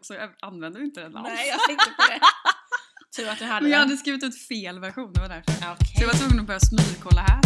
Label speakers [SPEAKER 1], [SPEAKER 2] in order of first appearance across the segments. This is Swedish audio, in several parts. [SPEAKER 1] så jag använde inte den alls.
[SPEAKER 2] Nej, jag tänkte på det. Tur att du hade
[SPEAKER 1] Men jag
[SPEAKER 2] den.
[SPEAKER 1] hade skrivit ut fel version, det var därför.
[SPEAKER 2] Ja,
[SPEAKER 1] Så
[SPEAKER 2] Okej.
[SPEAKER 1] jag var tvungen att börja smygkolla här.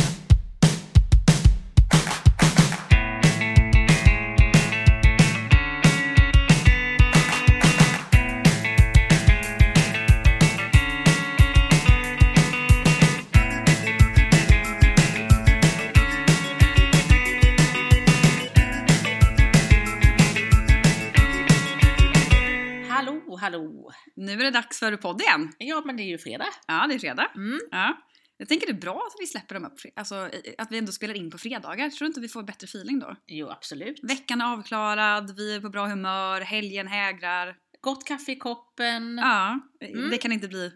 [SPEAKER 2] Hallå, hallå.
[SPEAKER 1] Nu är det dags för podd igen.
[SPEAKER 2] Ja, men det är ju fredag.
[SPEAKER 1] Ja, det är fredag.
[SPEAKER 2] Mm.
[SPEAKER 1] Ja. Jag tänker det är bra att vi släpper dem upp, fre- alltså i- att vi ändå spelar in på fredagar. Tror du inte vi får bättre feeling då?
[SPEAKER 2] Jo, absolut.
[SPEAKER 1] Veckan är avklarad, vi är på bra humör, helgen hägrar.
[SPEAKER 2] Gott kaffe i koppen.
[SPEAKER 1] Ja,
[SPEAKER 2] Mm.
[SPEAKER 1] det kan inte bli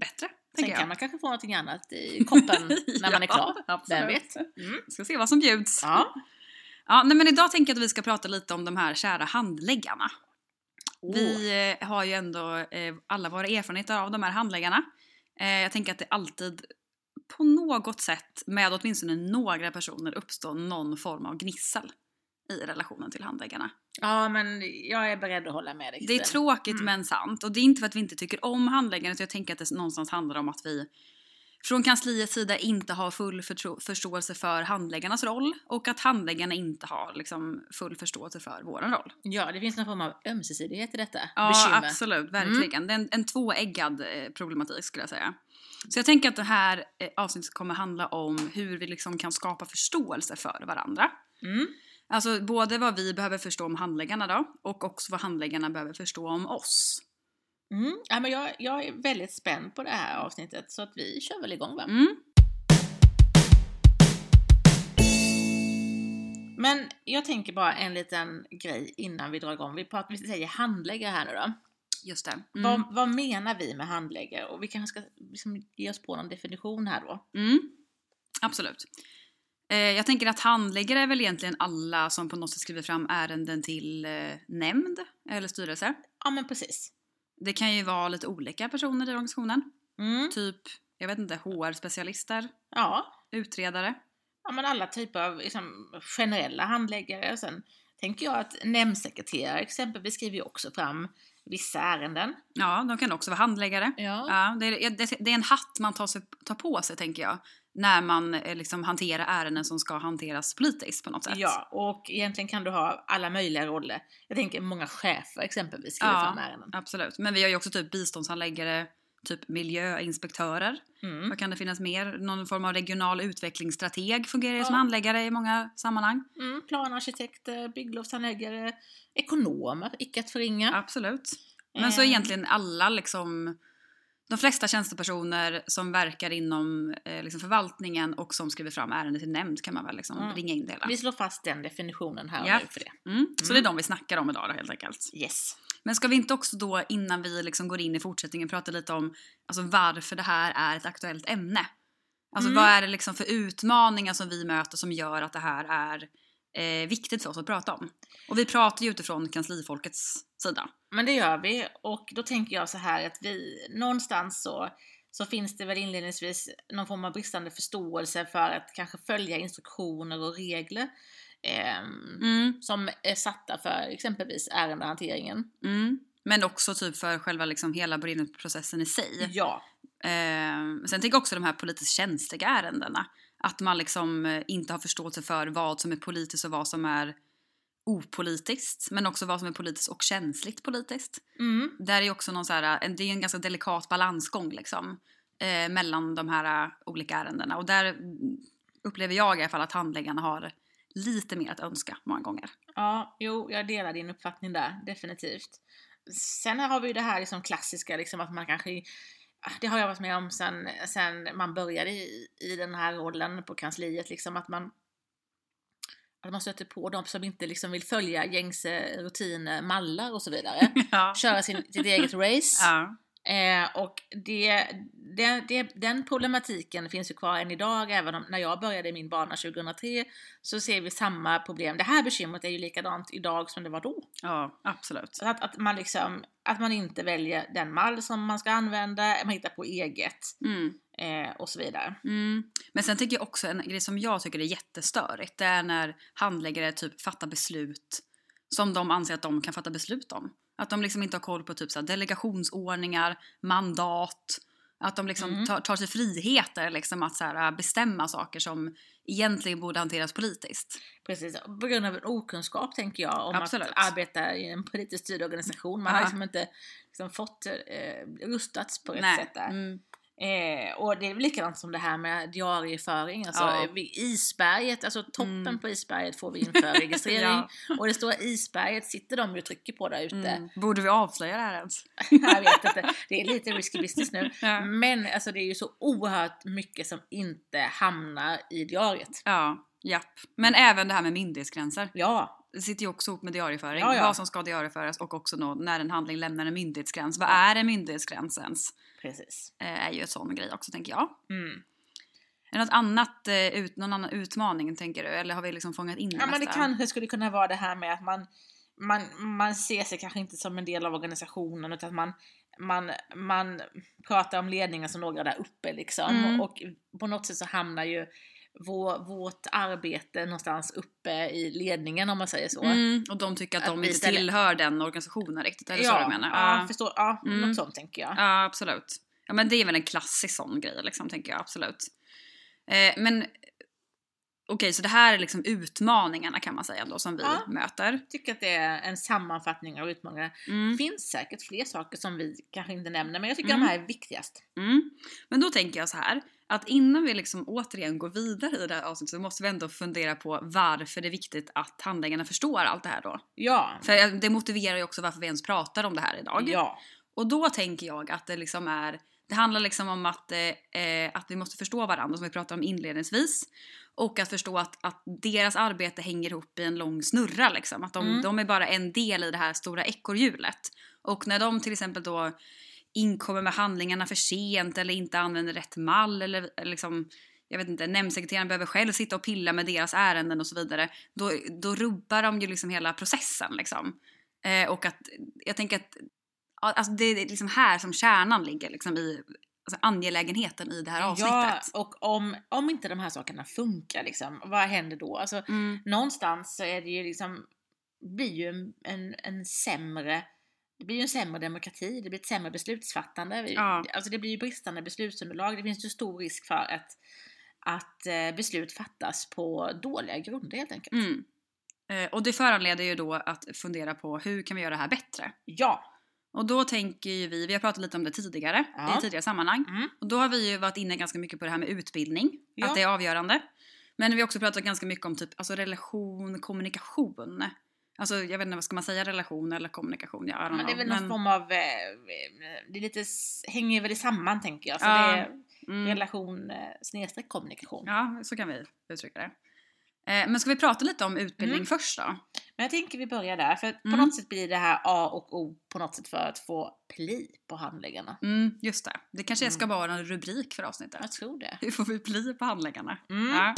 [SPEAKER 1] bättre.
[SPEAKER 2] Sen
[SPEAKER 1] tänker
[SPEAKER 2] kan
[SPEAKER 1] jag.
[SPEAKER 2] man kanske få någonting annat i koppen när man är klar.
[SPEAKER 1] Ja, absolut.
[SPEAKER 2] Vem vet? Mm.
[SPEAKER 1] Ska se vad som bjuds.
[SPEAKER 2] Ja.
[SPEAKER 1] Ja, nej, men idag tänker jag att vi ska prata lite om de här kära handläggarna.
[SPEAKER 2] Åh.
[SPEAKER 1] Vi eh, har ju ändå eh, alla våra erfarenheter av de här handläggarna. Eh, jag tänker att det alltid på något sätt med åtminstone några personer uppstår någon form av gnissel i relationen till handläggarna.
[SPEAKER 2] Ja, men jag är beredd att hålla med dig.
[SPEAKER 1] Det är
[SPEAKER 2] Kristin.
[SPEAKER 1] tråkigt
[SPEAKER 2] Mm.
[SPEAKER 1] men sant och det är inte för att vi inte tycker om handläggarna utan jag tänker att det någonstans handlar om att vi från kansliets sida inte har full förtro- förståelse för handläggarnas roll och att handläggarna inte har liksom, full förståelse för våran roll.
[SPEAKER 2] Ja, det finns någon form av ömsesidighet i detta.
[SPEAKER 1] Ja,
[SPEAKER 2] Bekymmer. Mm.
[SPEAKER 1] absolut. Verkligen. Det är en, en tvåeggad eh, problematik skulle jag säga. Så jag tänker att det här eh, avsnittet kommer handla om hur vi liksom kan skapa förståelse för varandra.
[SPEAKER 2] Mm.
[SPEAKER 1] Alltså både vad vi behöver förstå om handläggarna då och också vad handläggarna behöver förstå om oss.
[SPEAKER 2] Mm. Ja, men jag, jag är väldigt spänd på det här avsnittet så att vi kör väl igång va?
[SPEAKER 1] Mm.
[SPEAKER 2] Men jag tänker bara en liten grej innan vi drar igång. Vi, pratar, vi säger handläggare här nu då.
[SPEAKER 1] Just det. Mm.
[SPEAKER 2] Vad, vad menar vi med handläggare? Och vi kanske ska liksom ge oss på någon definition här då.
[SPEAKER 1] Mm. Absolut. Eh, jag tänker att handläggare är väl egentligen alla som på något sätt skriver fram ärenden till eh, nämnd eller styrelse.
[SPEAKER 2] Ja men precis.
[SPEAKER 1] Det kan ju vara lite olika personer i organisationen.
[SPEAKER 2] Mm.
[SPEAKER 1] Typ, jag vet inte, HR-specialister,
[SPEAKER 2] Ja.
[SPEAKER 1] utredare.
[SPEAKER 2] ja, men alla typer av liksom, generella handläggare. Och Sen tänker jag att nämndsekreterare exempelvis skriver ju också fram vissa ärenden.
[SPEAKER 1] Ja, de kan också vara handläggare.
[SPEAKER 2] Ja.
[SPEAKER 1] Ja, det, är, det, det är en hatt man tar, sig, tar på sig, tänker jag, när man eh, liksom hanterar ärenden som ska hanteras politiskt på något sätt.
[SPEAKER 2] Ja, och egentligen kan du ha alla möjliga roller. Jag tänker många chefer exempelvis skriver
[SPEAKER 1] Ja.
[SPEAKER 2] fram ärenden.
[SPEAKER 1] Absolut. Men vi har ju också typ biståndshandläggare, typ miljöinspektörer.
[SPEAKER 2] Mm.
[SPEAKER 1] Vad kan det finnas mer? Någon form av regional utvecklingsstrateg fungerar ju som
[SPEAKER 2] Ja.
[SPEAKER 1] handläggare i många sammanhang.
[SPEAKER 2] Mm. Planarkitekter, bygglovshandläggare, ekonomer, icke att förringa.
[SPEAKER 1] Absolut. Men så
[SPEAKER 2] Eh,
[SPEAKER 1] egentligen alla liksom de flesta tjänstepersoner som verkar inom eh, liksom förvaltningen och som skriver fram ärenden till nämnd kan man väl liksom
[SPEAKER 2] Mm.
[SPEAKER 1] ringa in det hela.
[SPEAKER 2] Vi slår fast den definitionen här och
[SPEAKER 1] Ja.
[SPEAKER 2] nu för det.
[SPEAKER 1] Mm. Så det är de vi snackar om idag då, helt enkelt.
[SPEAKER 2] Yes.
[SPEAKER 1] Men ska vi inte också då innan vi liksom går in i fortsättningen prata lite om alltså, varför det här är ett aktuellt ämne? Alltså
[SPEAKER 2] Mm.
[SPEAKER 1] vad är det liksom för utmaningar som vi möter som gör att det här är eh, viktigt för oss att prata om? Och vi pratar ju utifrån kanslifolkets sida.
[SPEAKER 2] Men det gör vi och då tänker jag så här att vi någonstans så, så finns det väl inledningsvis någon form av bristande förståelse för att kanske följa instruktioner och regler ehm,
[SPEAKER 1] Mm.
[SPEAKER 2] som är satta för exempelvis ärendehanteringen.
[SPEAKER 1] Mm. Men också typ för själva liksom hela beredningsprocessen i sig.
[SPEAKER 2] Ja,
[SPEAKER 1] Eh, sen tänker jag också de här politiskt känsliga ärendena. Att man liksom eh, inte har förståelse för vad som är politiskt och vad som är opolitiskt. Men också vad som är politiskt och känsligt politiskt.
[SPEAKER 2] mm,
[SPEAKER 1] Där är ju också någon så här, eh, det är ju en ganska delikat balansgång liksom. Eh, mellan de här eh, olika ärendena. Och där mm, upplever jag i alla fall att handläggarna har lite mer att önska många gånger.
[SPEAKER 2] ja, jo, jag delar din uppfattning där, definitivt. Sen har vi ju det här liksom klassiska, liksom att man kanske det har jag varit med om sen, sen man började i, i den här rollen på kansliet, liksom att man att man stöter på de som inte liksom vill följa gängse rutiner, mallar och så vidare.
[SPEAKER 1] Ja.
[SPEAKER 2] Köra sin, sitt eget race.
[SPEAKER 1] Ja.
[SPEAKER 2] Eh, och det, det, det, den problematiken finns ju kvar än idag, även om när jag började min bana 2003 så ser vi samma problem. Det här bekymret är ju likadant idag som det var då.
[SPEAKER 1] ja, absolut.
[SPEAKER 2] Så att, att, man liksom, att man inte väljer den mall som man ska använda, man hittar på eget
[SPEAKER 1] Mm.
[SPEAKER 2] eh, och så vidare.
[SPEAKER 1] Mm. Men sen tycker jag också en grej som jag tycker är jättestörigt. Det är när handläggare typ fattar beslut som de anser att de kan fatta beslut om. Att de liksom inte har koll på typ så här, delegationsordningar, mandat. Att de liksom
[SPEAKER 2] Mm.
[SPEAKER 1] tar, tar sig friheter liksom att så här, bestämma saker som egentligen borde hanteras politiskt.
[SPEAKER 2] Precis, på grund av en okunskap tänker jag om
[SPEAKER 1] Absolut.
[SPEAKER 2] att arbeta i en politiskt styrd organisation. Man har
[SPEAKER 1] Ja.
[SPEAKER 2] liksom inte liksom fått eh, rustats på rätt
[SPEAKER 1] Nej.
[SPEAKER 2] sätt där.
[SPEAKER 1] Mm.
[SPEAKER 2] Eh, och det är väl likadant som det här med diarieföring. Alltså
[SPEAKER 1] Ja.
[SPEAKER 2] vi- isberget, alltså toppen
[SPEAKER 1] Mm.
[SPEAKER 2] på isberget får vi inför registrering.
[SPEAKER 1] Ja.
[SPEAKER 2] Och det stora isberget sitter de ju och trycker på där ute.
[SPEAKER 1] Mm. Borde vi avslöja det här ens?
[SPEAKER 2] jag vet inte, det är lite risky business nu.
[SPEAKER 1] Ja.
[SPEAKER 2] Men alltså det är ju så oerhört mycket som inte hamnar i diariet.
[SPEAKER 1] Ja, japp. Men även det här med myndighetsgränser.
[SPEAKER 2] Ja,
[SPEAKER 1] Det sitter ju också ihop med diarieföring.
[SPEAKER 2] Ja, ja.
[SPEAKER 1] Vad som ska diarieföras och också nå- när en handling lämnar en myndighetsgräns. Vad är en myndighetsgräns ens?
[SPEAKER 2] precis.
[SPEAKER 1] Eh, är ju en sån grej också tänker jag.
[SPEAKER 2] Mm.
[SPEAKER 1] Är det något annat, eh, ut, någon annan utmaning tänker du? Eller har vi liksom fångat in det
[SPEAKER 2] Ja men det
[SPEAKER 1] mesta?
[SPEAKER 2] kanske skulle kunna vara det här med att man, man, man ser sig kanske inte som en del av organisationen utan att man, man, man pratar om ledningen som några där uppe liksom.
[SPEAKER 1] Mm.
[SPEAKER 2] Och på något sätt så hamnar ju vår, vårt arbete någonstans uppe i ledningen om man säger så.
[SPEAKER 1] Mm, och de tycker att,
[SPEAKER 2] Att
[SPEAKER 1] de
[SPEAKER 2] vi
[SPEAKER 1] inte
[SPEAKER 2] ställer-
[SPEAKER 1] tillhör den organisationen riktigt, är det så du menar?
[SPEAKER 2] Ja,
[SPEAKER 1] Ja,
[SPEAKER 2] förstår, ja
[SPEAKER 1] Mm.
[SPEAKER 2] något sånt tänker jag.
[SPEAKER 1] ja, absolut. Ja men det är väl en klassisk sån grej liksom, tänker jag absolut. Eh, men okej, så det här är liksom utmaningarna kan man säga ändå som vi
[SPEAKER 2] Ja.
[SPEAKER 1] möter.
[SPEAKER 2] Jag tycker att det är en sammanfattning av utmaningarna. Det
[SPEAKER 1] Mm.
[SPEAKER 2] finns säkert fler saker som vi kanske inte nämner men jag tycker
[SPEAKER 1] Mm.
[SPEAKER 2] de här är viktigast.
[SPEAKER 1] Mm. Men då tänker jag så här, att innan vi liksom återigen går vidare i det här avsnittet så måste vi ändå fundera på varför det är viktigt att handläggarna förstår allt det här då.
[SPEAKER 2] Ja.
[SPEAKER 1] För det motiverar ju också varför vi ens pratar om det här idag.
[SPEAKER 2] Ja.
[SPEAKER 1] Och då tänker jag att det liksom är det handlar liksom om att, eh, eh, att vi måste förstå varandra som vi pratade om inledningsvis. Och att förstå att, att deras arbete hänger ihop i en lång snurra liksom. Att de,
[SPEAKER 2] Mm.
[SPEAKER 1] de är bara en del i det här stora ekorrhjulet. Och när de till exempel då inkommer med handlingarna för sent eller inte använder rätt mall eller eller liksom jag vet inte, nämndsekreteraren behöver själv sitta och pilla med deras ärenden och så vidare. Då, då rubbar de ju liksom hela processen liksom. Eh, och att jag tänker att ja, alltså det är liksom här som kärnan ligger liksom i alltså angelägenheten i det här
[SPEAKER 2] Ja,
[SPEAKER 1] avsnittet.
[SPEAKER 2] och om, om inte de här sakerna funkar, liksom, vad händer då? Alltså,
[SPEAKER 1] Mm,
[SPEAKER 2] någonstans så är det ju liksom, blir ju en, en, en sämre det blir ju en sämre demokrati, det blir ett sämre beslutsfattande. Vi-
[SPEAKER 1] Ja.
[SPEAKER 2] Alltså det blir ju bristande beslutsunderlag. Det finns ju stor risk för att, att eh, beslut fattas på dåliga grunder helt enkelt.
[SPEAKER 1] mm. Eh, och det föranleder ju då att fundera på hur kan vi göra det här bättre?
[SPEAKER 2] Ja,
[SPEAKER 1] Och då tänker ju vi, vi har pratat lite om det tidigare
[SPEAKER 2] Ja.
[SPEAKER 1] i tidigare sammanhang.
[SPEAKER 2] Mm.
[SPEAKER 1] Och då har vi ju varit inne ganska mycket på det här med utbildning,
[SPEAKER 2] Ja.
[SPEAKER 1] att det är avgörande. Men vi har också pratat ganska mycket om typ alltså relation, kommunikation. Alltså jag vet inte, vad ska man säga? Relation eller kommunikation? Ja, I don't
[SPEAKER 2] men det är
[SPEAKER 1] know.
[SPEAKER 2] väl någon form av, eh, eh, det är lite, s- hänger väl samman tänker jag. Så
[SPEAKER 1] Ja.
[SPEAKER 2] det är
[SPEAKER 1] mm.
[SPEAKER 2] relation eh, snedstreck kommunikation.
[SPEAKER 1] Ja, så kan vi uttrycka det. Eh, men ska vi prata lite om utbildning
[SPEAKER 2] Mm.
[SPEAKER 1] först då?
[SPEAKER 2] Men jag tänker vi börjar där, för på
[SPEAKER 1] Mm.
[SPEAKER 2] något sätt blir det här A och O på något sätt för att få pli på handläggarna.
[SPEAKER 1] Mm, just det. Det kanske ska
[SPEAKER 2] Mm.
[SPEAKER 1] vara en rubrik för avsnittet.
[SPEAKER 2] Jag tror det.
[SPEAKER 1] Hur får vi pli på handläggarna?
[SPEAKER 2] Mm.
[SPEAKER 1] Ja.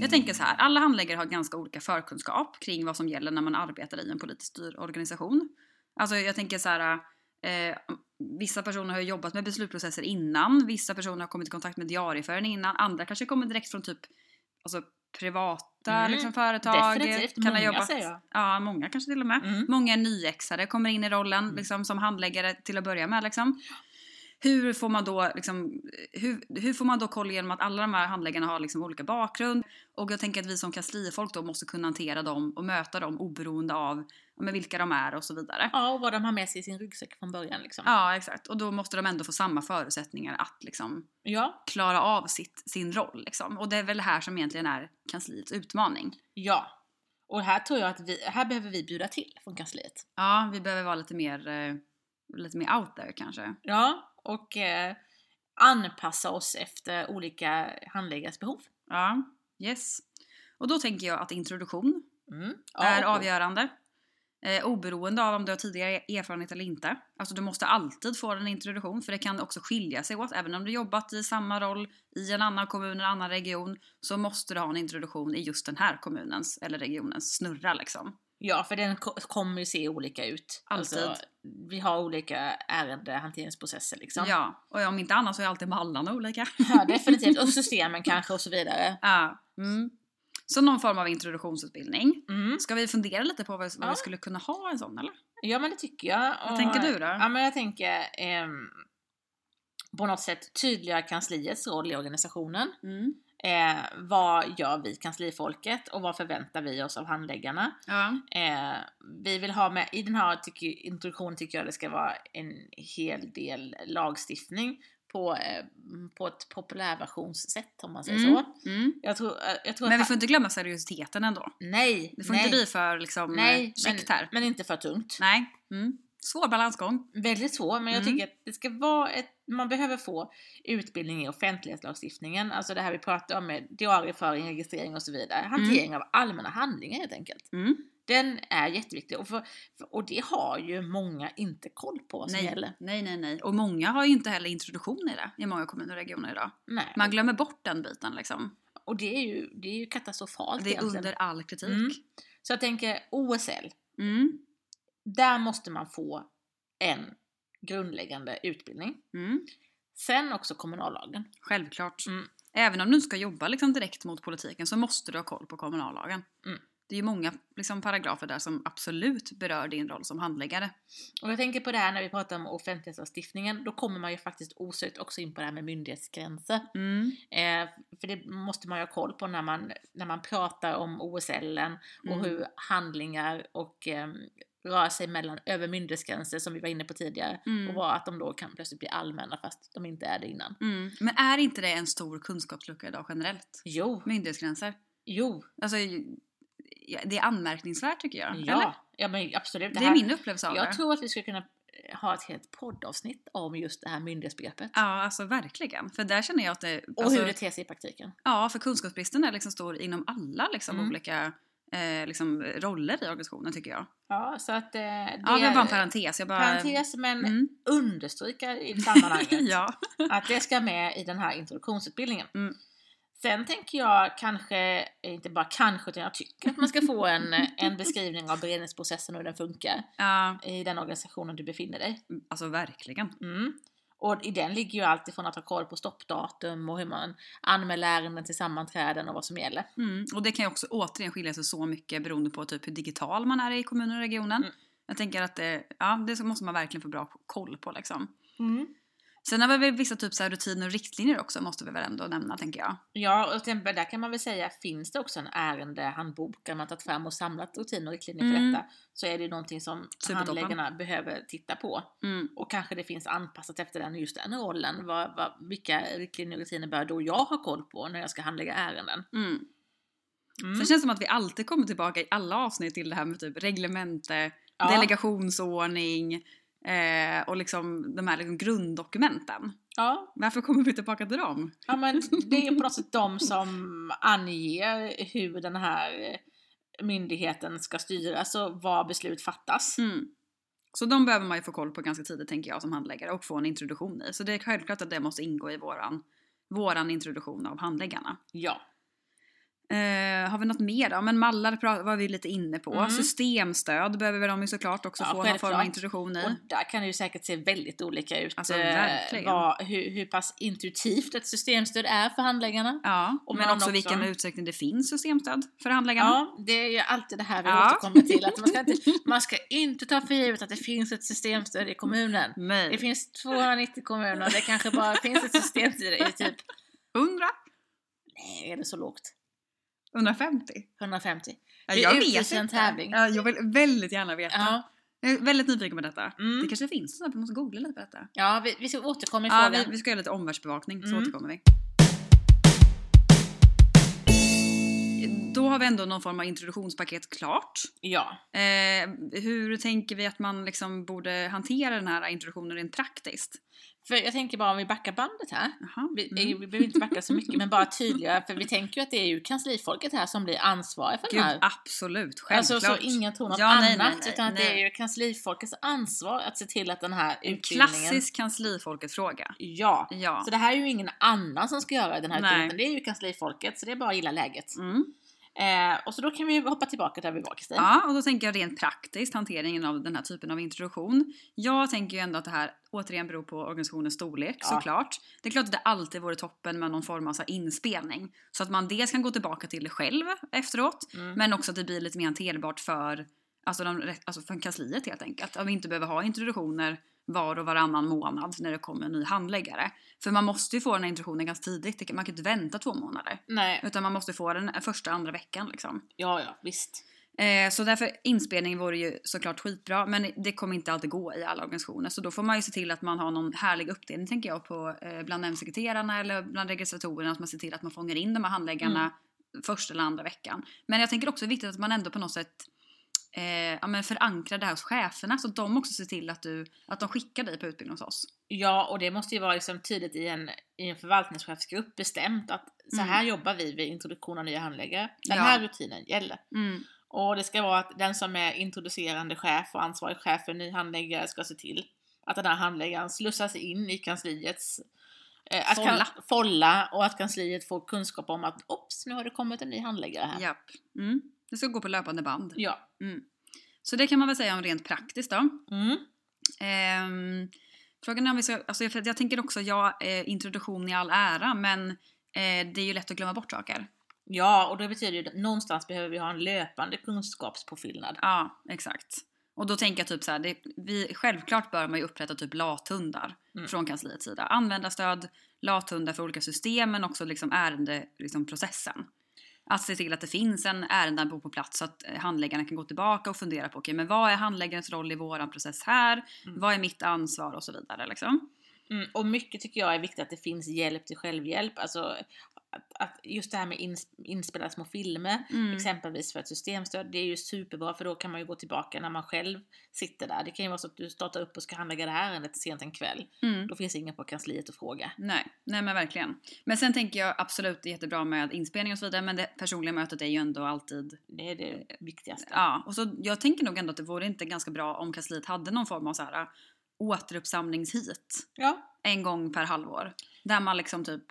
[SPEAKER 1] Jag tänker så här, alla handläggare har ganska olika förkunskap kring vad som gäller när man arbetar i en politiskt styrd organisation. Alltså jag tänker så här, eh, vissa personer har ju jobbat med beslutsprocesser innan, vissa personer har kommit i kontakt med diarieföring innan, andra kanske kommer direkt från typ alltså, privata
[SPEAKER 2] Mm,
[SPEAKER 1] liksom, företag.
[SPEAKER 2] definitivt.
[SPEAKER 1] kan ha
[SPEAKER 2] Många,
[SPEAKER 1] jobbat-
[SPEAKER 2] säger jag.
[SPEAKER 1] Ja, många kanske till och med.
[SPEAKER 2] Mm.
[SPEAKER 1] Många är nyexade, kommer in i rollen
[SPEAKER 2] Mm.
[SPEAKER 1] liksom, som handläggare till att börja med. Liksom. Hur, får man då, liksom, hur, hur får man då koll genom att alla de här handläggarna har liksom, olika bakgrund? Och jag tänker att vi som kanslifolk då måste kunna hantera dem och möta dem oberoende av ja, men vilka de är och så vidare.
[SPEAKER 2] Ja, och vad de har med sig i sin ryggsäck från början liksom.
[SPEAKER 1] Ja, exakt. Och då måste de ändå få samma förutsättningar att liksom,
[SPEAKER 2] Ja,
[SPEAKER 1] klara av sitt, sin roll. Liksom. Och det är väl det här som egentligen är kansliets utmaning.
[SPEAKER 2] ja. Och här tror jag att vi, här behöver vi bjuda till från kansliet.
[SPEAKER 1] Ja, vi behöver vara lite mer, eh, lite mer out there kanske.
[SPEAKER 2] Ja, och eh, anpassa oss efter olika handläggares behov.
[SPEAKER 1] Ja, yes. Och då tänker jag att introduktion
[SPEAKER 2] Mm.
[SPEAKER 1] är
[SPEAKER 2] och-
[SPEAKER 1] avgörande. Eh, oberoende av om du har tidigare erfarenhet eller inte. Alltså du måste alltid få en introduktion för det kan också skilja sig åt. Även om du jobbat i samma roll i en annan kommun eller annan region så måste du ha en introduktion i just den här kommunens eller regionens snurra liksom.
[SPEAKER 2] Ja, för den ko- kommer ju se olika ut. Alltså,
[SPEAKER 1] Alltid.
[SPEAKER 2] vi har olika ärendehanteringsprocesser liksom.
[SPEAKER 1] Ja, och om inte annat så är alltid mallarna olika.
[SPEAKER 2] ja, definitivt. Och systemen kanske och så vidare.
[SPEAKER 1] Ja. Mm. Så någon form av introduktionsutbildning.
[SPEAKER 2] Mm.
[SPEAKER 1] Ska vi fundera lite på vad, vad
[SPEAKER 2] Ja.
[SPEAKER 1] vi skulle kunna ha en sån eller?
[SPEAKER 2] Ja men det tycker jag.
[SPEAKER 1] Vad tänker du då?
[SPEAKER 2] Ja men jag tänker ehm, på något sätt tydliggöra kansliets roll i organisationen.
[SPEAKER 1] Mm.
[SPEAKER 2] Eh, vad gör vi kanslifolket och vad förväntar vi oss av handläggarna?
[SPEAKER 1] Ja.
[SPEAKER 2] Eh, vi vill ha med, i den här tycker, introduktionen tycker jag det ska vara en hel del lagstiftning på, eh, på ett populärversionssätt om man säger
[SPEAKER 1] Mm.
[SPEAKER 2] så.
[SPEAKER 1] Mm.
[SPEAKER 2] Jag tror, eh, jag tror
[SPEAKER 1] Men vi
[SPEAKER 2] att-
[SPEAKER 1] får inte glömma seriositeten ändå.
[SPEAKER 2] Nej!
[SPEAKER 1] Det får
[SPEAKER 2] nej,
[SPEAKER 1] inte bli för liksom,
[SPEAKER 2] nej,
[SPEAKER 1] eh, käckt här.
[SPEAKER 2] Men inte för tungt.
[SPEAKER 1] Nej. Mm. Svår balansgång.
[SPEAKER 2] Väldigt svår, men jag
[SPEAKER 1] Mm.
[SPEAKER 2] tycker att det ska vara ett, man behöver få utbildning i offentlighetslagstiftningen, alltså det här vi pratar om med diarieföring, registrering och så vidare. Hantering av allmänna handlingar helt enkelt.
[SPEAKER 1] Mm.
[SPEAKER 2] Den är jätteviktig och, för, för- och det har ju många inte koll på vad som
[SPEAKER 1] Nej.
[SPEAKER 2] gäller.
[SPEAKER 1] nej, nej, nej. Och många har ju inte heller introduktion i det i många kommuner och regioner idag.
[SPEAKER 2] Nej.
[SPEAKER 1] Man glömmer bort den biten liksom.
[SPEAKER 2] Och det är ju, det är ju katastrofalt
[SPEAKER 1] Det är
[SPEAKER 2] egentligen.
[SPEAKER 1] under all kritik.
[SPEAKER 2] Mm. Så jag tänker OSL,
[SPEAKER 1] Mm.
[SPEAKER 2] där måste man få en grundläggande utbildning.
[SPEAKER 1] Mm.
[SPEAKER 2] Sen också kommunallagen.
[SPEAKER 1] Självklart.
[SPEAKER 2] Mm.
[SPEAKER 1] Även om du inte ska jobba liksom direkt mot politiken så måste du ha koll på kommunallagen.
[SPEAKER 2] Mm.
[SPEAKER 1] Det är ju många liksom, paragrafer där som absolut berör din roll som handläggare.
[SPEAKER 2] Och jag tänker på det här när vi pratar om offentlighetslagstiftningen, då kommer man ju faktiskt osökt också in på det här med myndighetsgränser.
[SPEAKER 1] Mm.
[SPEAKER 2] Eh, för det måste man ju ha koll på när man, när man pratar om OSL och
[SPEAKER 1] Mm.
[SPEAKER 2] hur handlingar och eh, rör sig mellan över myndighetsgränser som vi var inne på tidigare.
[SPEAKER 1] Mm.
[SPEAKER 2] Och vad att de då kan plötsligt bli allmänna fast de inte är det innan.
[SPEAKER 1] Mm. Men är inte det en stor kunskapslucka idag generellt?
[SPEAKER 2] Jo,
[SPEAKER 1] Myndighetsgränser.
[SPEAKER 2] jo,
[SPEAKER 1] Alltså, ja, det är anmärkningsvärt tycker jag. Eller?
[SPEAKER 2] ja, ja men absolut.
[SPEAKER 1] Det är min upplevelse av
[SPEAKER 2] jag
[SPEAKER 1] det.
[SPEAKER 2] tror att vi skulle kunna ha ett helt poddavsnitt om just det här myndighetsbegreppet.
[SPEAKER 1] Ja, alltså verkligen. För där känner jag att det...
[SPEAKER 2] Och
[SPEAKER 1] alltså,
[SPEAKER 2] hur det ter sig i praktiken.
[SPEAKER 1] Ja, för kunskapsbristen är liksom stor inom alla liksom,
[SPEAKER 2] Mm.
[SPEAKER 1] olika eh, liksom, roller i organisationen tycker jag.
[SPEAKER 2] Ja, så att eh, det
[SPEAKER 1] Ja, det var bara en parentes. Jag bara...
[SPEAKER 2] parentes men
[SPEAKER 1] Mm.
[SPEAKER 2] understryka i sammanhanget
[SPEAKER 1] ja.
[SPEAKER 2] att det ska med i den här introduktionsutbildningen.
[SPEAKER 1] Mm.
[SPEAKER 2] Sen tänker jag kanske, eh, inte bara kanske, utan jag tycker att man ska få en, en beskrivning av beredningsprocessen och hur den funkar
[SPEAKER 1] ja,
[SPEAKER 2] i den organisationen du befinner dig.
[SPEAKER 1] alltså verkligen.
[SPEAKER 2] Mm. Och i den ligger ju allt ifrån att ha koll på stoppdatum och hur man anmäler ärenden till sammanträden och vad som gäller.
[SPEAKER 1] Mm. Och det kan ju också återigen skilja sig så mycket beroende på typ hur digital man är i kommunen och regionen.
[SPEAKER 2] Mm.
[SPEAKER 1] Jag tänker att det, ja, det måste man verkligen få bra koll på liksom. Sen har vi väl vissa typ så här rutiner och riktlinjer också måste vi väl ändå nämna tänker jag.
[SPEAKER 2] Ja, och sen, där kan man väl säga, finns det också en ärendehandbok där man har tagit fram och samlat rutiner och riktlinjer för
[SPEAKER 1] Mm.
[SPEAKER 2] detta så är det ju någonting som
[SPEAKER 1] Supertoppen.
[SPEAKER 2] handläggarna behöver titta på.
[SPEAKER 1] Mm.
[SPEAKER 2] Och kanske det finns anpassat efter den, just den rollen. Vad, vad, vilka riktlinjer och rutiner bör då jag ha koll på när jag ska handlägga ärenden?
[SPEAKER 1] Mm.
[SPEAKER 2] Mm.
[SPEAKER 1] Sen känns det som att vi alltid kommer tillbaka i alla avsnitt till det här med typ reglemente,
[SPEAKER 2] Ja,
[SPEAKER 1] delegationsordning eh, och liksom de här liksom grunddokumenten.
[SPEAKER 2] ja,
[SPEAKER 1] Varför kommer vi tillbaka till dem?
[SPEAKER 2] ja, men det är ju på något sätt de som anger hur den här myndigheten ska styras och var beslut fattas.
[SPEAKER 1] Mm. Så de behöver man ju få koll på ganska tidigt tänker jag som handläggare och få en introduktion i. Så det är självklart att det måste ingå i våran, våran introduktion av handläggarna.
[SPEAKER 2] Ja.
[SPEAKER 1] Eh, har vi något mer då? Men mallar pra- var vi lite inne på.
[SPEAKER 2] Mm.
[SPEAKER 1] Systemstöd behöver de ju såklart också
[SPEAKER 2] Ja,
[SPEAKER 1] få någon form av
[SPEAKER 2] självklart.
[SPEAKER 1] introduktion
[SPEAKER 2] Och
[SPEAKER 1] i.
[SPEAKER 2] där kan det ju säkert se väldigt olika ut
[SPEAKER 1] Alltså,
[SPEAKER 2] eh,
[SPEAKER 1] verkligen.
[SPEAKER 2] vad, hur, hur pass intuitivt ett systemstöd är för handläggarna.
[SPEAKER 1] Ja,
[SPEAKER 2] Och
[SPEAKER 1] men
[SPEAKER 2] man
[SPEAKER 1] också
[SPEAKER 2] också-
[SPEAKER 1] vilken utsträckning det finns systemstöd för handläggarna.
[SPEAKER 2] Ja, det är ju alltid det här vi
[SPEAKER 1] Ja.
[SPEAKER 2] återkommer till. Att man, ska inte, man ska inte ta för givet att det finns ett systemstöd i kommunen. Det
[SPEAKER 1] Nej.
[SPEAKER 2] finns 290 kommuner, det kanske bara finns ett systemstöd i typ,
[SPEAKER 1] 100?
[SPEAKER 2] nej är det så lågt?
[SPEAKER 1] 150?
[SPEAKER 2] 150?
[SPEAKER 1] Ja,
[SPEAKER 2] Vi
[SPEAKER 1] jag
[SPEAKER 2] utlyser
[SPEAKER 1] vet
[SPEAKER 2] en
[SPEAKER 1] inte.
[SPEAKER 2] tävling.
[SPEAKER 1] Ja, jag vill väldigt gärna veta.
[SPEAKER 2] Ja,
[SPEAKER 1] Jag är väldigt nyfiken på detta.
[SPEAKER 2] Mm.
[SPEAKER 1] Det kanske finns, så vi måste googla lite på detta.
[SPEAKER 2] ja vi, vi ska återkomma i
[SPEAKER 1] Ja,
[SPEAKER 2] frågan.
[SPEAKER 1] vi, vi ska göra lite omvärldsbevakning så
[SPEAKER 2] Mm.
[SPEAKER 1] återkommer vi. Då har vi ändå någon form av introduktionspaket klart.
[SPEAKER 2] Ja,
[SPEAKER 1] Eh, hur tänker vi att man liksom borde hantera den här introduktionen rent praktiskt?
[SPEAKER 2] för jag tänker bara om vi backar bandet här.
[SPEAKER 1] Jaha.
[SPEAKER 2] Vi, eh,
[SPEAKER 1] Mm.
[SPEAKER 2] vi behöver inte backa så mycket, men bara tydliggöra, för vi tänker ju att det är ju kanslifolket här som blir ansvariga för den här
[SPEAKER 1] Gud, absolut, självklart.
[SPEAKER 2] Alltså så ingen tror något
[SPEAKER 1] Ja,
[SPEAKER 2] annat
[SPEAKER 1] nej, nej, nej,
[SPEAKER 2] utan att det
[SPEAKER 1] nej.
[SPEAKER 2] är ju kanslifolkets ansvar att se till att den här
[SPEAKER 1] En
[SPEAKER 2] utbildningen...
[SPEAKER 1] klassisk kanslifolket-fråga.
[SPEAKER 2] Ja.
[SPEAKER 1] Ja.
[SPEAKER 2] Så det här är ju ingen annan som ska göra den här
[SPEAKER 1] Nej.
[SPEAKER 2] utbildningen, det är ju kanslifolket så det är bara att gilla läget.
[SPEAKER 1] Mm.
[SPEAKER 2] Eh, och så då kan vi hoppa tillbaka där vi var Kristin.
[SPEAKER 1] Ja, och då tänker jag rent praktiskt hanteringen av den här typen av introduktion. Jag tänker ju ändå att det här återigen beror på organisationens storlek
[SPEAKER 2] Ja.
[SPEAKER 1] såklart. Det är klart att det alltid vore toppen med någon form av så här inspelning. Så att man dels kan gå tillbaka till det själv efteråt,
[SPEAKER 2] Mm.
[SPEAKER 1] men också att det blir lite mer hanterbart för, alltså de, rätt- alltså för kansliet helt enkelt. Att vi inte behöver ha introduktioner var och varannan månad när det kommer en ny handläggare. För man måste ju få den här introduktionen ganska tidigt, Det kan- man kan inte vänta två månader.
[SPEAKER 2] Nej,
[SPEAKER 1] Utan man måste få den första, andra veckan liksom.
[SPEAKER 2] ja, ja, visst.
[SPEAKER 1] Eh, så därför inspelning vore ju såklart skitbra men det kommer inte alltid gå i alla organisationer så då får man ju se till att man har någon härlig uppdelning tänker jag på eh, bland nämndsekreterarna eller bland registratorerna att man ser till att man fångar in de här handläggarna första eller andra veckan. Men jag tänker också det är viktigt att man ändå på något sätt eh, ja, men förankrar det här hos cheferna så att de också ser till att, du, att de skickar dig på utbildning hos oss.
[SPEAKER 2] Ja, och det måste ju vara liksom tydligt i en, i en förvaltningschefsgrupp bestämt att så här jobbar vi vid introduktion av nya handläggare. Den
[SPEAKER 1] Mm. Ja.
[SPEAKER 2] här rutinen gäller. Och det ska vara att den som är introducerande chef och ansvarig chef för en ny handläggare ska se till att den här handläggaren slussas in i kansliets eh, att
[SPEAKER 1] Folla.
[SPEAKER 2] Kan, folla och att kansliet får kunskap om att ops, nu har det kommit en ny handläggare här.
[SPEAKER 1] Japp. Mm. Det ska gå på löpande band.
[SPEAKER 2] Ja.
[SPEAKER 1] Mm. Så det kan man väl säga om rent praktiskt då.
[SPEAKER 2] Mm.
[SPEAKER 1] Ehm, frågan är om vi ska... Alltså jag, för jag tänker också, ja, eh, introduktion i all ära, men eh, det är ju lätt att glömma bort saker.
[SPEAKER 2] ja, och det betyder ju att någonstans behöver vi ha en löpande kunskapspåfyllnad.
[SPEAKER 1] Ja, exakt. Och då tänker jag typ så här, det, vi, självklart bör man ju upprätta typ lathundar
[SPEAKER 2] Mm.
[SPEAKER 1] från kansliets sida. Användarstöd, lathundar för olika system men också liksom ärendeprocessen. Liksom processen. att se till att det finns en ärendehandbok på plats så att eh, handläggarna kan gå tillbaka och fundera på okej men vad är handläggarens roll i våran process här?
[SPEAKER 2] Mm.
[SPEAKER 1] Vad är mitt ansvar och så vidare liksom.
[SPEAKER 2] Mm, och mycket tycker jag är viktigt att det finns hjälp till självhjälp. Alltså, att, att just det här med ins, inspelade små filmer,
[SPEAKER 1] Mm.
[SPEAKER 2] exempelvis för ett systemstöd, det är ju superbra för då kan man ju gå tillbaka när man själv sitter där. Det kan ju vara så att du startar upp och ska handlägga det här ärendet sent en kväll.
[SPEAKER 1] Mm.
[SPEAKER 2] Då finns det ingen på kansliet att fråga.
[SPEAKER 1] Nej, nej men verkligen. Men sen tänker jag absolut det är jättebra med inspelning och så vidare men det personliga mötet är ju ändå alltid,
[SPEAKER 2] Det är det viktigaste.
[SPEAKER 1] ja. Och så jag tänker nog ändå att det vore inte ganska bra om kansliet hade någon form av så här äh, återuppsamlingshit
[SPEAKER 2] Ja.
[SPEAKER 1] en gång per halvår. Där man liksom typ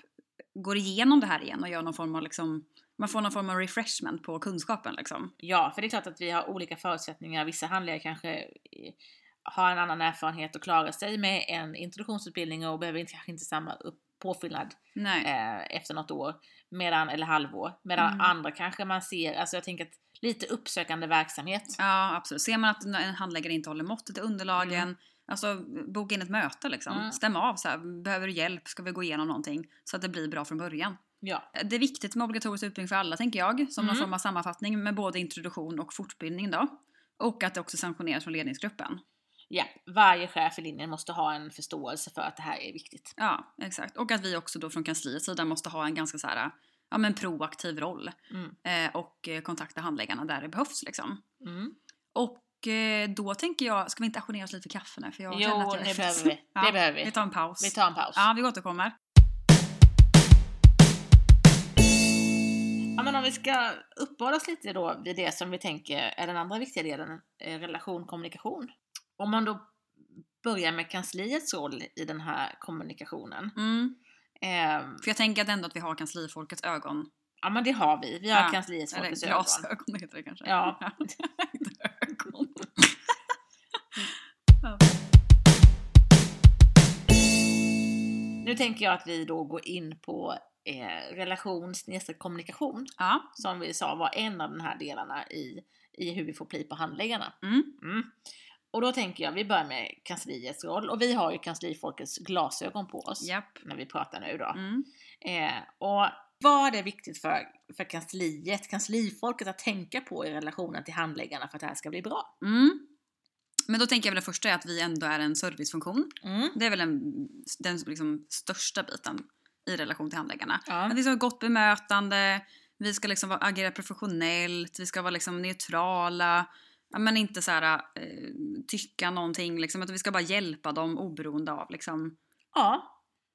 [SPEAKER 1] går igenom det här igen och gör någon form av liksom, man får någon form av refreshment på kunskapen liksom.
[SPEAKER 2] ja, för det är klart att vi har olika förutsättningar. Vissa handläggare kanske eh, har en annan erfarenhet och klarar sig med en introduktionsutbildning och behöver inte, kanske inte samma upp, påfyllnad
[SPEAKER 1] Nej.
[SPEAKER 2] eh, efter något år, medan, eller halvår. Medan
[SPEAKER 1] Mm.
[SPEAKER 2] andra kanske man ser, alltså jag tänker att lite uppsökande verksamhet.
[SPEAKER 1] Ja, absolut. Ser man att en handläggare inte håller måttet i underlagen, alltså boka in ett möte liksom.
[SPEAKER 2] Mm.
[SPEAKER 1] Stäm av så här, behöver du hjälp? Ska vi gå igenom någonting? Så att det blir bra från början.
[SPEAKER 2] Ja.
[SPEAKER 1] Det är viktigt med obligatorisk utbildning för alla tänker jag, som någon
[SPEAKER 2] Mm.
[SPEAKER 1] form av sammanfattning med både introduktion och fortbildning då. Och att det också sanktioneras från ledningsgruppen.
[SPEAKER 2] ja, varje chef i linjen måste ha en förståelse för att det här är viktigt.
[SPEAKER 1] Ja, exakt. Och att vi också då från kansliets sida måste ha en ganska så här, ja men proaktiv roll.
[SPEAKER 2] Mm.
[SPEAKER 1] Eh, och eh, kontakta handläggarna där det behövs liksom.
[SPEAKER 2] Mm.
[SPEAKER 1] Och eh, då tänker jag, ska vi inte ajournera oss lite för kaffe nu? För jag
[SPEAKER 2] Jo,
[SPEAKER 1] känner att jag är
[SPEAKER 2] det
[SPEAKER 1] trött.
[SPEAKER 2] behöver vi. Det
[SPEAKER 1] Ja,
[SPEAKER 2] behöver vi.
[SPEAKER 1] Vi tar en paus.
[SPEAKER 2] Vi tar en paus. Ja.
[SPEAKER 1] Ja, vi återkommer.
[SPEAKER 2] men om vi ska uppehålla oss lite då vid det som vi tänker är den andra viktiga delen, eh, relation, kommunikation. Om man då börjar med kansliets roll i den här kommunikationen.
[SPEAKER 1] Mm.
[SPEAKER 2] Ehm,
[SPEAKER 1] För jag tänker att ändå att vi har kanslifolkets ögon.
[SPEAKER 2] ja men det har vi, vi har
[SPEAKER 1] Ja,
[SPEAKER 2] kansliets
[SPEAKER 1] Eller
[SPEAKER 2] folkets ögon.
[SPEAKER 1] glasögon heter det kanske.
[SPEAKER 2] Ja.
[SPEAKER 1] Inte ögon.
[SPEAKER 2] Nu tänker jag att vi då går in på eh, relation snedstreck kommunikation
[SPEAKER 1] Ja.
[SPEAKER 2] som vi sa var en av de här delarna i, i hur vi får pli på handläggarna.
[SPEAKER 1] Mm.
[SPEAKER 2] Mm. Och då tänker jag vi börjar med kansliets roll och vi har ju kanslifolkets glasögon på oss
[SPEAKER 1] Japp.
[SPEAKER 2] när vi pratar nu då.
[SPEAKER 1] Mm.
[SPEAKER 2] Eh, och vad är viktigt för, för kansliet, kanslifolket att tänka på i relationen till handläggarna för att det här ska bli bra?
[SPEAKER 1] Mm. Men då tänker jag väl det första är att vi ändå är en servicefunktion.
[SPEAKER 2] Mm.
[SPEAKER 1] Det är väl en, den liksom största biten i relation till handläggarna.
[SPEAKER 2] Ja.
[SPEAKER 1] Att vi ska ha gott bemötande, vi ska liksom vara- agera professionellt, vi ska vara liksom neutrala. Ja, men inte så här, eh, tycka någonting, liksom, utan vi ska bara hjälpa dem oberoende av. Liksom.
[SPEAKER 2] ja.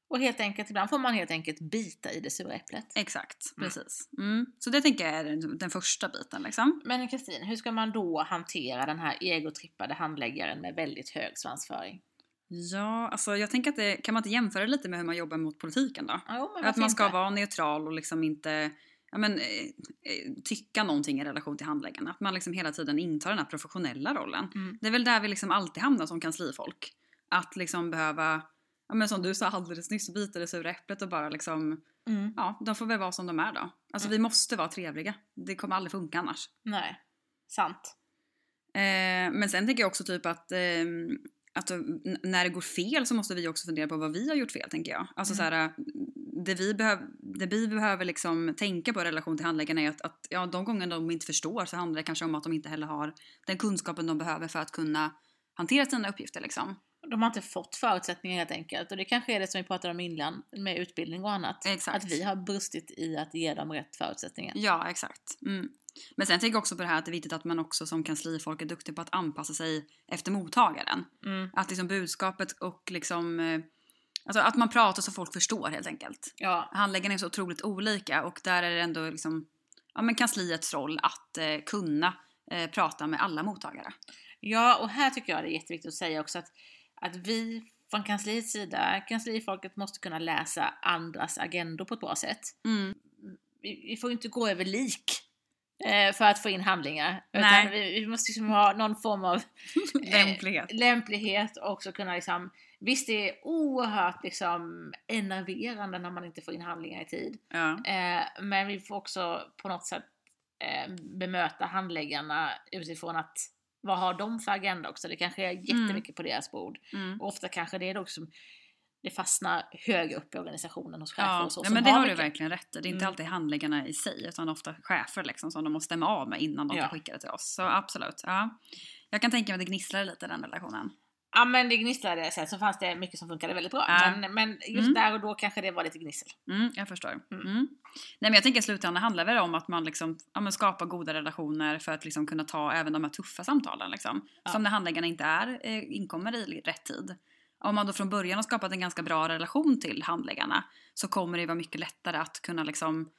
[SPEAKER 2] Och helt enkelt, ibland får man helt enkelt bita i det sura äpplet.
[SPEAKER 1] Exakt,
[SPEAKER 2] Mm.
[SPEAKER 1] precis. Mm. Så det tänker jag är den, den första biten. Liksom.
[SPEAKER 2] Men Kristin, hur ska man då hantera den här egotrippade handläggaren med väldigt hög svansföring?
[SPEAKER 1] Ja, alltså jag tänker att det, kan man inte jämföra lite med hur man jobbar mot politiken då?
[SPEAKER 2] Jo, men
[SPEAKER 1] Att man
[SPEAKER 2] varför
[SPEAKER 1] ska
[SPEAKER 2] inte?
[SPEAKER 1] vara neutral och liksom inte ja, men, eh, eh, tycka någonting i relation till handläggaren. Att man liksom hela tiden intar den här professionella rollen.
[SPEAKER 2] Mm.
[SPEAKER 1] Det är väl där vi liksom alltid hamnar som kanslifolk. Att liksom behöva, ja, men som du sa alldeles nyss, bita det sura äpplet och bara liksom,
[SPEAKER 2] Mm.
[SPEAKER 1] ja de får väl vara som de är då. Alltså
[SPEAKER 2] Mm.
[SPEAKER 1] vi måste vara trevliga. Det kommer aldrig funka annars.
[SPEAKER 2] Nej, sant.
[SPEAKER 1] Eh, men sen tänker jag också typ att, ehm, att eh, n- när det går fel så måste vi också fundera på vad vi har gjort fel tänker jag. Alltså
[SPEAKER 2] Mm.
[SPEAKER 1] så här, eh, det vi, behöv, det vi behöver liksom tänka på i relation till handläggarna är att, att ja, de gånger de inte förstår så handlar det kanske om att de inte heller har den kunskapen de behöver för att kunna hantera sina uppgifter liksom.
[SPEAKER 2] De har inte fått förutsättningar helt enkelt. Och det kanske är det som vi pratade om innan med utbildning och annat.
[SPEAKER 1] Exakt.
[SPEAKER 2] Att vi har brustit i att ge dem rätt förutsättningar.
[SPEAKER 1] Ja, exakt. Mm. Men sen tänker jag också på det här att det är viktigt att man också som kanslifolk är duktig på att anpassa sig efter mottagaren.
[SPEAKER 2] Mm.
[SPEAKER 1] Att liksom budskapet och liksom eh, Alltså att man pratar så folk förstår helt enkelt.
[SPEAKER 2] Ja,
[SPEAKER 1] handläggarna är så otroligt olika och där är det ändå liksom, ja, men kansliets roll att eh, kunna eh, prata med alla mottagare.
[SPEAKER 2] Ja, och här tycker jag det är jätteviktigt att säga också att, att vi från kansliets sida, kanslifolket måste kunna läsa andras agendor på ett bra sätt.
[SPEAKER 1] Mm.
[SPEAKER 2] Vi, vi får inte gå över lik eh, för att få in handlingar.
[SPEAKER 1] Nej.
[SPEAKER 2] Utan vi, vi måste liksom ha någon form av
[SPEAKER 1] Lämplighet.
[SPEAKER 2] lämplighet och också kunna liksom, visst det är oerhört liksom enerverande när man inte får in handlingar i tid.
[SPEAKER 1] Ja.
[SPEAKER 2] Eh, men vi får också på något sätt eh, bemöta handläggarna utifrån att vad har de för agenda också? Det kanske är jättemycket på deras bord.
[SPEAKER 1] Mm.
[SPEAKER 2] Och ofta kanske det är då som det fastnar högre upp i organisationen hos chefer
[SPEAKER 1] Ja,
[SPEAKER 2] och så.
[SPEAKER 1] ja,
[SPEAKER 2] som
[SPEAKER 1] men det har du
[SPEAKER 2] mycket.
[SPEAKER 1] verkligen rätt i. Det är inte
[SPEAKER 2] Mm.
[SPEAKER 1] alltid handläggarna i sig utan ofta chefer liksom, som de måste stämma av med innan de
[SPEAKER 2] Ja.
[SPEAKER 1] kan skicka det till oss. Så absolut. Ja. Jag kan tänka mig att det gnisslar lite i den relationen.
[SPEAKER 2] Ja men det gnisslade sen så fanns det mycket som funkade väldigt bra.
[SPEAKER 1] Ja.
[SPEAKER 2] Men, men just
[SPEAKER 1] Mm.
[SPEAKER 2] där och då kanske det var lite gnissel.
[SPEAKER 1] Mm, jag förstår.
[SPEAKER 2] Mm.
[SPEAKER 1] Mm. Nej, men jag tänker i slutändan handlar väl om att man liksom, ja, men skapar goda relationer för att liksom kunna ta även de här tuffa samtalen. Liksom,
[SPEAKER 2] Ja.
[SPEAKER 1] Som när handläggarna inte är, eh, inkommer i rätt tid. Om man då från början har skapat en ganska bra relation till handläggarna så kommer det vara mycket lättare att kunna liksom,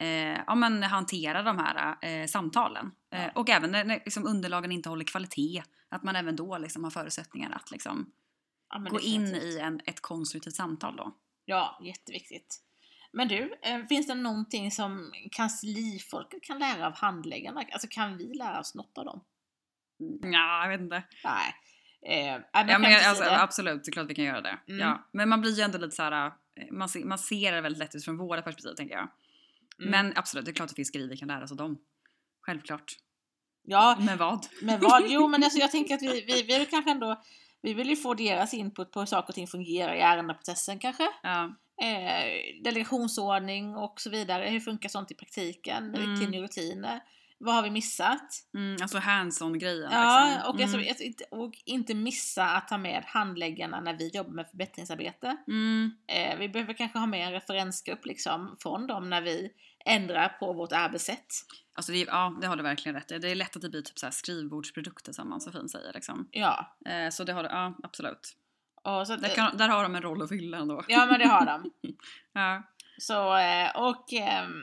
[SPEAKER 1] eh, ja, men hantera de här eh, samtalen.
[SPEAKER 2] Ja.
[SPEAKER 1] Eh, och även när, när liksom underlagen inte håller kvalitet, att man även då liksom har förutsättningar att liksom,
[SPEAKER 2] Ja, men
[SPEAKER 1] gå in
[SPEAKER 2] definitivt.
[SPEAKER 1] i en, ett konstruktivt samtal då.
[SPEAKER 2] Ja, jätteviktigt. Men du, eh, finns det någonting som kanslifolket kan lära av handläggarna? Alltså kan vi lära oss något av dem?
[SPEAKER 1] Mm. Ja, jag vet inte.
[SPEAKER 2] Nej. Eh, men
[SPEAKER 1] Ja, men
[SPEAKER 2] jag,
[SPEAKER 1] jag, alltså,
[SPEAKER 2] det.
[SPEAKER 1] absolut, det är klart vi kan göra det.
[SPEAKER 2] Mm.
[SPEAKER 1] Ja. Men man blir ju ändå lite så här. eh, Man ser, man ser det väldigt lätt ut från våra perspektiv tänker jag.
[SPEAKER 2] Mm.
[SPEAKER 1] Men absolut, det är klart att det finns grejer vi kan lära oss av dem. Självklart.
[SPEAKER 2] ja,
[SPEAKER 1] Men vad?
[SPEAKER 2] men vad? Jo, men alltså, jag tänker att vi, vi, vi vill kanske ändå vi vill ju få deras input på hur saker och ting fungerar i ärendeprocessen kanske.
[SPEAKER 1] Ja,
[SPEAKER 2] Eh, delegationsordning och så vidare. Hur funkar sånt i praktiken?
[SPEAKER 1] Mm.
[SPEAKER 2] Riktlinjer och rutiner. Vad har vi missat?
[SPEAKER 1] mm, alltså hands on grejen.
[SPEAKER 2] Ja,
[SPEAKER 1] liksom.
[SPEAKER 2] och, alltså,
[SPEAKER 1] mm.
[SPEAKER 2] jag- inte, och inte missa att ta med handläggarna när vi jobbar med förbättringsarbete.
[SPEAKER 1] Mm,
[SPEAKER 2] Eh, vi behöver kanske ha med en referensgrupp liksom, från dem när vi ändrar på vårt arbetssätt.
[SPEAKER 1] alltså det, är- ja, det har du verkligen rätt i. Det är lätt att det blir typ så här skrivbordsprodukter som man så fint säger. Liksom.
[SPEAKER 2] Ja,
[SPEAKER 1] Eh, så det har du, ja absolut.
[SPEAKER 2] och så att,
[SPEAKER 1] Där, kan, där har de en roll att fylla ändå.
[SPEAKER 2] ja men det har de.
[SPEAKER 1] Ja.
[SPEAKER 2] Så, eh, och ehm,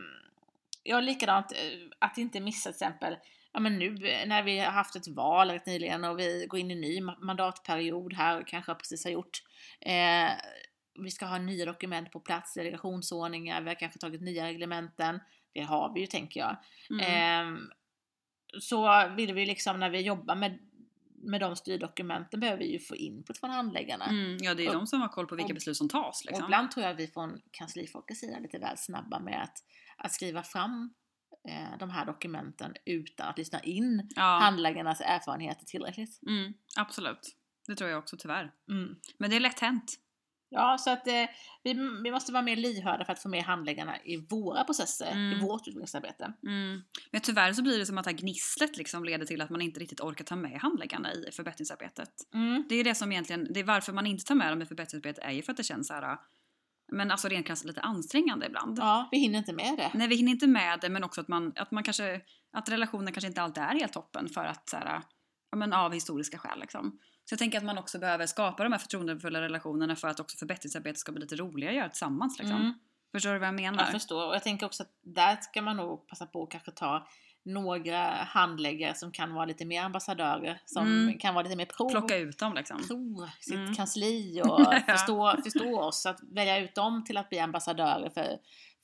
[SPEAKER 2] ja, likadant eh, att inte missa till exempel Ja men nu eh, när vi har haft ett val rätt nyligen och vi går in i en ny ma- mandatperiod här och kanske precis har gjort. Eh, vi ska ha nya dokument på plats, delegationsordningar, vi har kanske tagit nya reglementen. Det har vi ju tänker jag.
[SPEAKER 1] Mm.
[SPEAKER 2] Ehm, så vill vi liksom när vi jobbar med, med de styrdokumenten behöver vi ju få input från handläggarna.
[SPEAKER 1] Mm, ja, det är
[SPEAKER 2] och-
[SPEAKER 1] de som har koll på vilka
[SPEAKER 2] och-
[SPEAKER 1] beslut som tas. Liksom.
[SPEAKER 2] Och ibland tror jag vi från kanslifolkets sida är lite väl snabba med att, att skriva fram eh, de här dokumenten utan att lyssna in
[SPEAKER 1] ja.
[SPEAKER 2] handläggarnas erfarenheter tillräckligt.
[SPEAKER 1] mm, absolut. Det tror jag också tyvärr. Men det är lätt hänt.
[SPEAKER 2] Mm. Ja, så att eh, vi, vi måste vara mer lyhörda för att få med handläggarna i våra processer, i
[SPEAKER 1] Mm.
[SPEAKER 2] vårt utvecklingsarbete.
[SPEAKER 1] Mm. Men tyvärr så blir det som att det här gnisslet liksom leder till att man inte riktigt orkar ta med handläggarna i förbättringsarbetet.
[SPEAKER 2] Mm.
[SPEAKER 1] Det är ju det som egentligen, det är varför man inte tar med dem i förbättringsarbetet är ju för att det känns så här, men alltså rent krasst lite ansträngande ibland.
[SPEAKER 2] Ja, Mm, vi hinner inte med det.
[SPEAKER 1] Nej vi hinner inte med det men också att man, att man kanske, att relationen kanske inte alltid är helt toppen för att så här, ja men av historiska skäl liksom. Så jag tänker att man också behöver skapa de här förtroendefulla relationerna för att också förbättringsarbetet ska bli lite roligare att göra tillsammans liksom.
[SPEAKER 2] Mm.
[SPEAKER 1] Förstår du vad jag menar?
[SPEAKER 2] Jag förstår. Och jag tänker också att där ska man nog passa på att kanske ta några handläggare som kan vara lite mer ambassadörer, som
[SPEAKER 1] Mm.
[SPEAKER 2] kan vara lite mer prov.
[SPEAKER 1] Plocka ut dem liksom.
[SPEAKER 2] tro sitt
[SPEAKER 1] Mm.
[SPEAKER 2] kansli och
[SPEAKER 1] Ja.
[SPEAKER 2] förstå, förstå oss. Att välja ut dem till att bli ambassadörer för,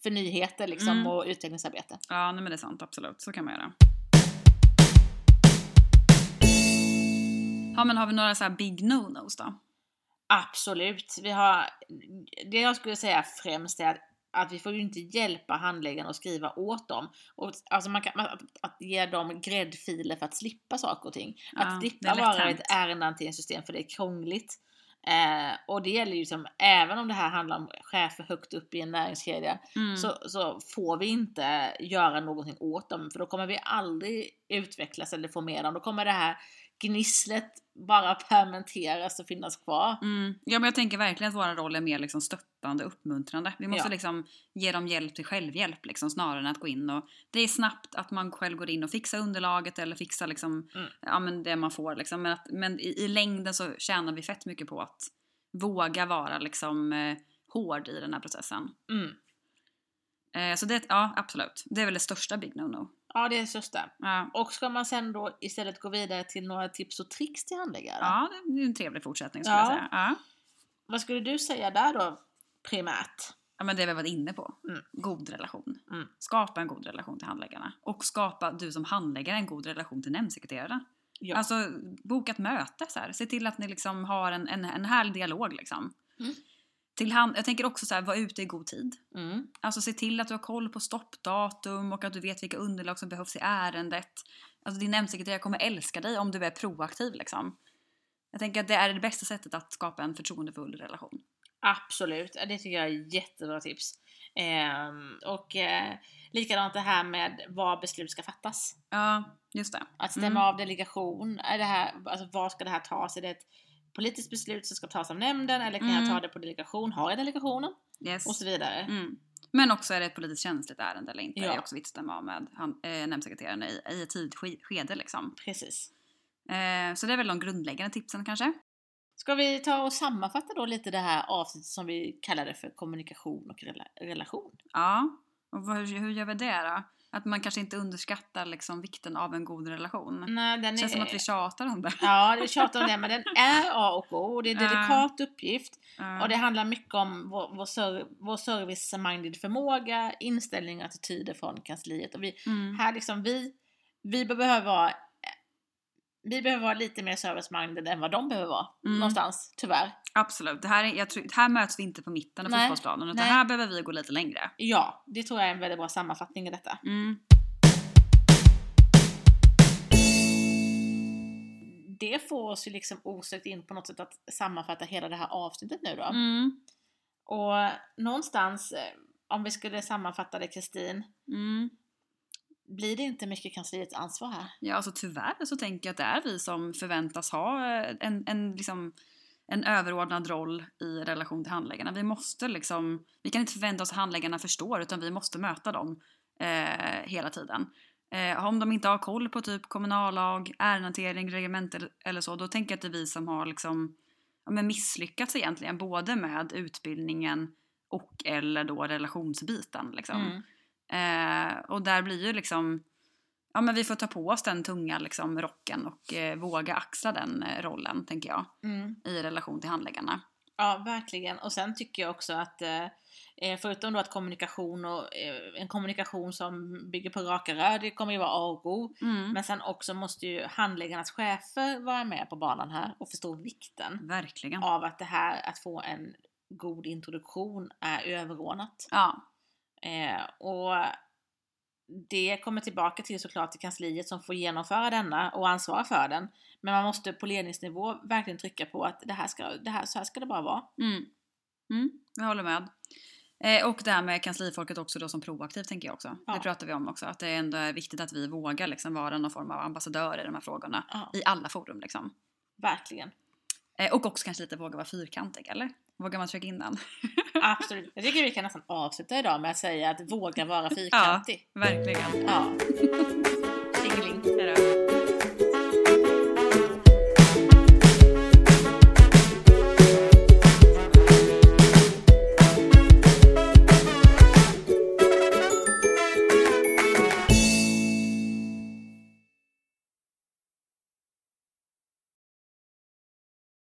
[SPEAKER 2] för nyheter liksom
[SPEAKER 1] Mm.
[SPEAKER 2] och utvecklingsarbete.
[SPEAKER 1] Ja, nej men det är sant. Absolut, så kan man göra. Ja, men har vi några så här big no-nos då?
[SPEAKER 2] Absolut. Vi har, det jag skulle säga främst är att, att vi får ju inte hjälpa handläggarna att skriva åt dem. Och, alltså man kan, man- att, att ge dem gräddfiler för att slippa saker och ting. Att
[SPEAKER 1] Ja, det
[SPEAKER 2] slippa
[SPEAKER 1] är lätt
[SPEAKER 2] vara
[SPEAKER 1] hänt.
[SPEAKER 2] ett ärendehanteringssystem för det är krångligt. Eh, och det gäller ju som, även om det här handlar om chefer högt upp i en näringskedja,
[SPEAKER 1] Mm.
[SPEAKER 2] så, så får vi inte göra någonting åt dem för då kommer vi aldrig utvecklas eller få med dem. Då kommer det här gnisslet bara permenteras och finnas kvar.
[SPEAKER 1] Mm. Ja, men jag tänker verkligen att vår roll är mer liksom stöttande, uppmuntrande. Vi måste
[SPEAKER 2] Ja.
[SPEAKER 1] liksom ge dem hjälp till självhjälp liksom, snarare än att gå in och... Det är snabbt att man själv går in och fixar underlaget eller fixar liksom,
[SPEAKER 2] Mm.
[SPEAKER 1] ja, men det man får. Liksom. Men, att, men i, i längden så tjänar vi fett mycket på att våga vara liksom, eh, hård i den här processen.
[SPEAKER 2] Mm.
[SPEAKER 1] Eh, så det, ja absolut. Det är väl det största big no-no.
[SPEAKER 2] Ja, det är det största.
[SPEAKER 1] Ja,
[SPEAKER 2] Och ska man sen då istället gå vidare till några tips och tricks till handläggare?
[SPEAKER 1] ja det är en trevlig fortsättning skulle
[SPEAKER 2] Ja.
[SPEAKER 1] jag säga. Ja.
[SPEAKER 2] Vad skulle du säga där då, primärt?
[SPEAKER 1] Ja, men det vi varit inne på.
[SPEAKER 2] Mm.
[SPEAKER 1] God relation.
[SPEAKER 2] Mm.
[SPEAKER 1] Skapa en god relation till handläggarna. Och skapa, du som handläggare, en god relation till nämndsekreteraren.
[SPEAKER 2] Ja.
[SPEAKER 1] Alltså, boka ett möte. Så här. Se till att ni liksom har en, en, en härlig dialog. Liksom.
[SPEAKER 2] Mm.
[SPEAKER 1] Till hand, jag tänker också så här, var ute i god tid.
[SPEAKER 2] Mm.
[SPEAKER 1] Alltså se till att du har koll på stoppdatum och att du vet vilka underlag som behövs i ärendet. Alltså din nämndsekreterare kommer älska dig om du är proaktiv liksom. Jag tänker att det är det bästa sättet att skapa en förtroendefull relation.
[SPEAKER 2] Absolut, Ja, det tycker jag är jättebra tips. Ehm, och eh, likadant det här med var beslut ska fattas.
[SPEAKER 1] Ja, just det.
[SPEAKER 2] Att stämma
[SPEAKER 1] Mm.
[SPEAKER 2] av delegation, är det här, alltså var ska det här tas? Är det ett politiskt beslut som ska tas av nämnden eller kan jag
[SPEAKER 1] Mm.
[SPEAKER 2] ta det på delegation? Har jag delegationen?
[SPEAKER 1] Yes.
[SPEAKER 2] Och så vidare.
[SPEAKER 1] Mm. Men också är det ett politiskt känsligt ärende eller inte.
[SPEAKER 2] Ja.
[SPEAKER 1] Det är också viktigt att stämma av med han, eh, nämndsekreteraren i, i ett tidigt ske- skede. Liksom.
[SPEAKER 2] Precis.
[SPEAKER 1] Eh, så det är väl de grundläggande tipsen kanske.
[SPEAKER 2] Ska vi ta och sammanfatta då lite det här avsnittet som vi kallade för kommunikation och rela- relation?
[SPEAKER 1] Ja. Och vad, hur gör vi det då? Att man kanske inte underskattar liksom, vikten av en god relation.
[SPEAKER 2] Mm, Nej, den
[SPEAKER 1] Det
[SPEAKER 2] är...
[SPEAKER 1] Mm. känns som att vi tjatar om det.
[SPEAKER 2] Ja, vi tjatar om det, men den är A och O och det är en
[SPEAKER 1] Ja.
[SPEAKER 2] delikat uppgift.
[SPEAKER 1] Ja.
[SPEAKER 2] Och det handlar mindset om vår, vår, ser, vår service-minded förmåga, inställning och attityder från kansliet. Och vi,
[SPEAKER 1] mm.
[SPEAKER 2] här liksom, vi, vi behöver vara eh, vi behöver vara lite mer service-minded än vad de behöver vara.
[SPEAKER 1] Mm.
[SPEAKER 2] Någonstans, tyvärr.
[SPEAKER 1] Absolut. Det här, är, jag tror, här möts vi inte på mitten av
[SPEAKER 2] Nej.
[SPEAKER 1] fotbollsplanen utan
[SPEAKER 2] Nej.
[SPEAKER 1] här behöver vi gå lite längre.
[SPEAKER 2] Ja, det tror jag är en väldigt bra sammanfattning i detta.
[SPEAKER 1] Mm.
[SPEAKER 2] Det får oss ju liksom osökt in på något sätt att sammanfatta hela det här avsnittet nu då.
[SPEAKER 1] Mm.
[SPEAKER 2] Och någonstans, eh, om vi skulle sammanfatta det Kristin,
[SPEAKER 1] Mm.
[SPEAKER 2] blir det inte mycket kansliets ansvar här?
[SPEAKER 1] Ja, alltså tyvärr så tänker jag att det är vi som förväntas ha eh, en, en, liksom, en överordnad roll i relation till handläggarna. Vi måste liksom, vi kan inte förvänta oss att handläggarna förstår utan vi måste möta dem eh, hela tiden. Eh, om de inte har koll på typ kommunallag, ärendehantering, reglemente eller- eller så, då tänker jag att det är vi som har liksom, ja, men misslyckats egentligen både med utbildningen och eller då relationsbiten. Liksom.
[SPEAKER 2] Mm.
[SPEAKER 1] Eh, och där blir ju liksom, ja men vi får ta på oss den tunga liksom, rocken och eh, våga axla den eh, rollen, tänker jag,
[SPEAKER 2] Mm.
[SPEAKER 1] i relation till handläggarna.
[SPEAKER 2] Ja, verkligen. Och sen tycker jag också att eh, eh, förutom då att kommunikation och eh, en kommunikation som bygger på raka rör, det kommer ju vara A och O.
[SPEAKER 1] Mm.
[SPEAKER 2] Men sen också måste ju handläggarnas chefer vara med på banan här och förstå vikten
[SPEAKER 1] Verkligen. Ja.
[SPEAKER 2] av att det här att få en god introduktion är överordnat. Eh, och det kommer tillbaka till såklart till kansliet som får genomföra denna och ansvara för den. Men man måste på ledningsnivå verkligen trycka på att det här ska, det här, så här ska det bara vara.
[SPEAKER 1] Mm. Mm. Jag håller med. Eh, och det här med kanslifolket också då som proaktivt tänker jag också.
[SPEAKER 2] Ja.
[SPEAKER 1] Det pratar vi om också, att det ändå är viktigt att vi vågar liksom vara någon form av ambassadör i de här frågorna.
[SPEAKER 2] Ja,
[SPEAKER 1] I alla forum liksom.
[SPEAKER 2] verkligen.
[SPEAKER 1] Eh, och också kanske lite våga vara fyrkantig, eller? Vågar man trycka in den?
[SPEAKER 2] Absolut. Jag tycker vi kan nästan avsluta idag med att säga att våga vara fyrkantig.
[SPEAKER 1] Verkligen.
[SPEAKER 2] Ja. Tjingeling.
[SPEAKER 1] Hej då.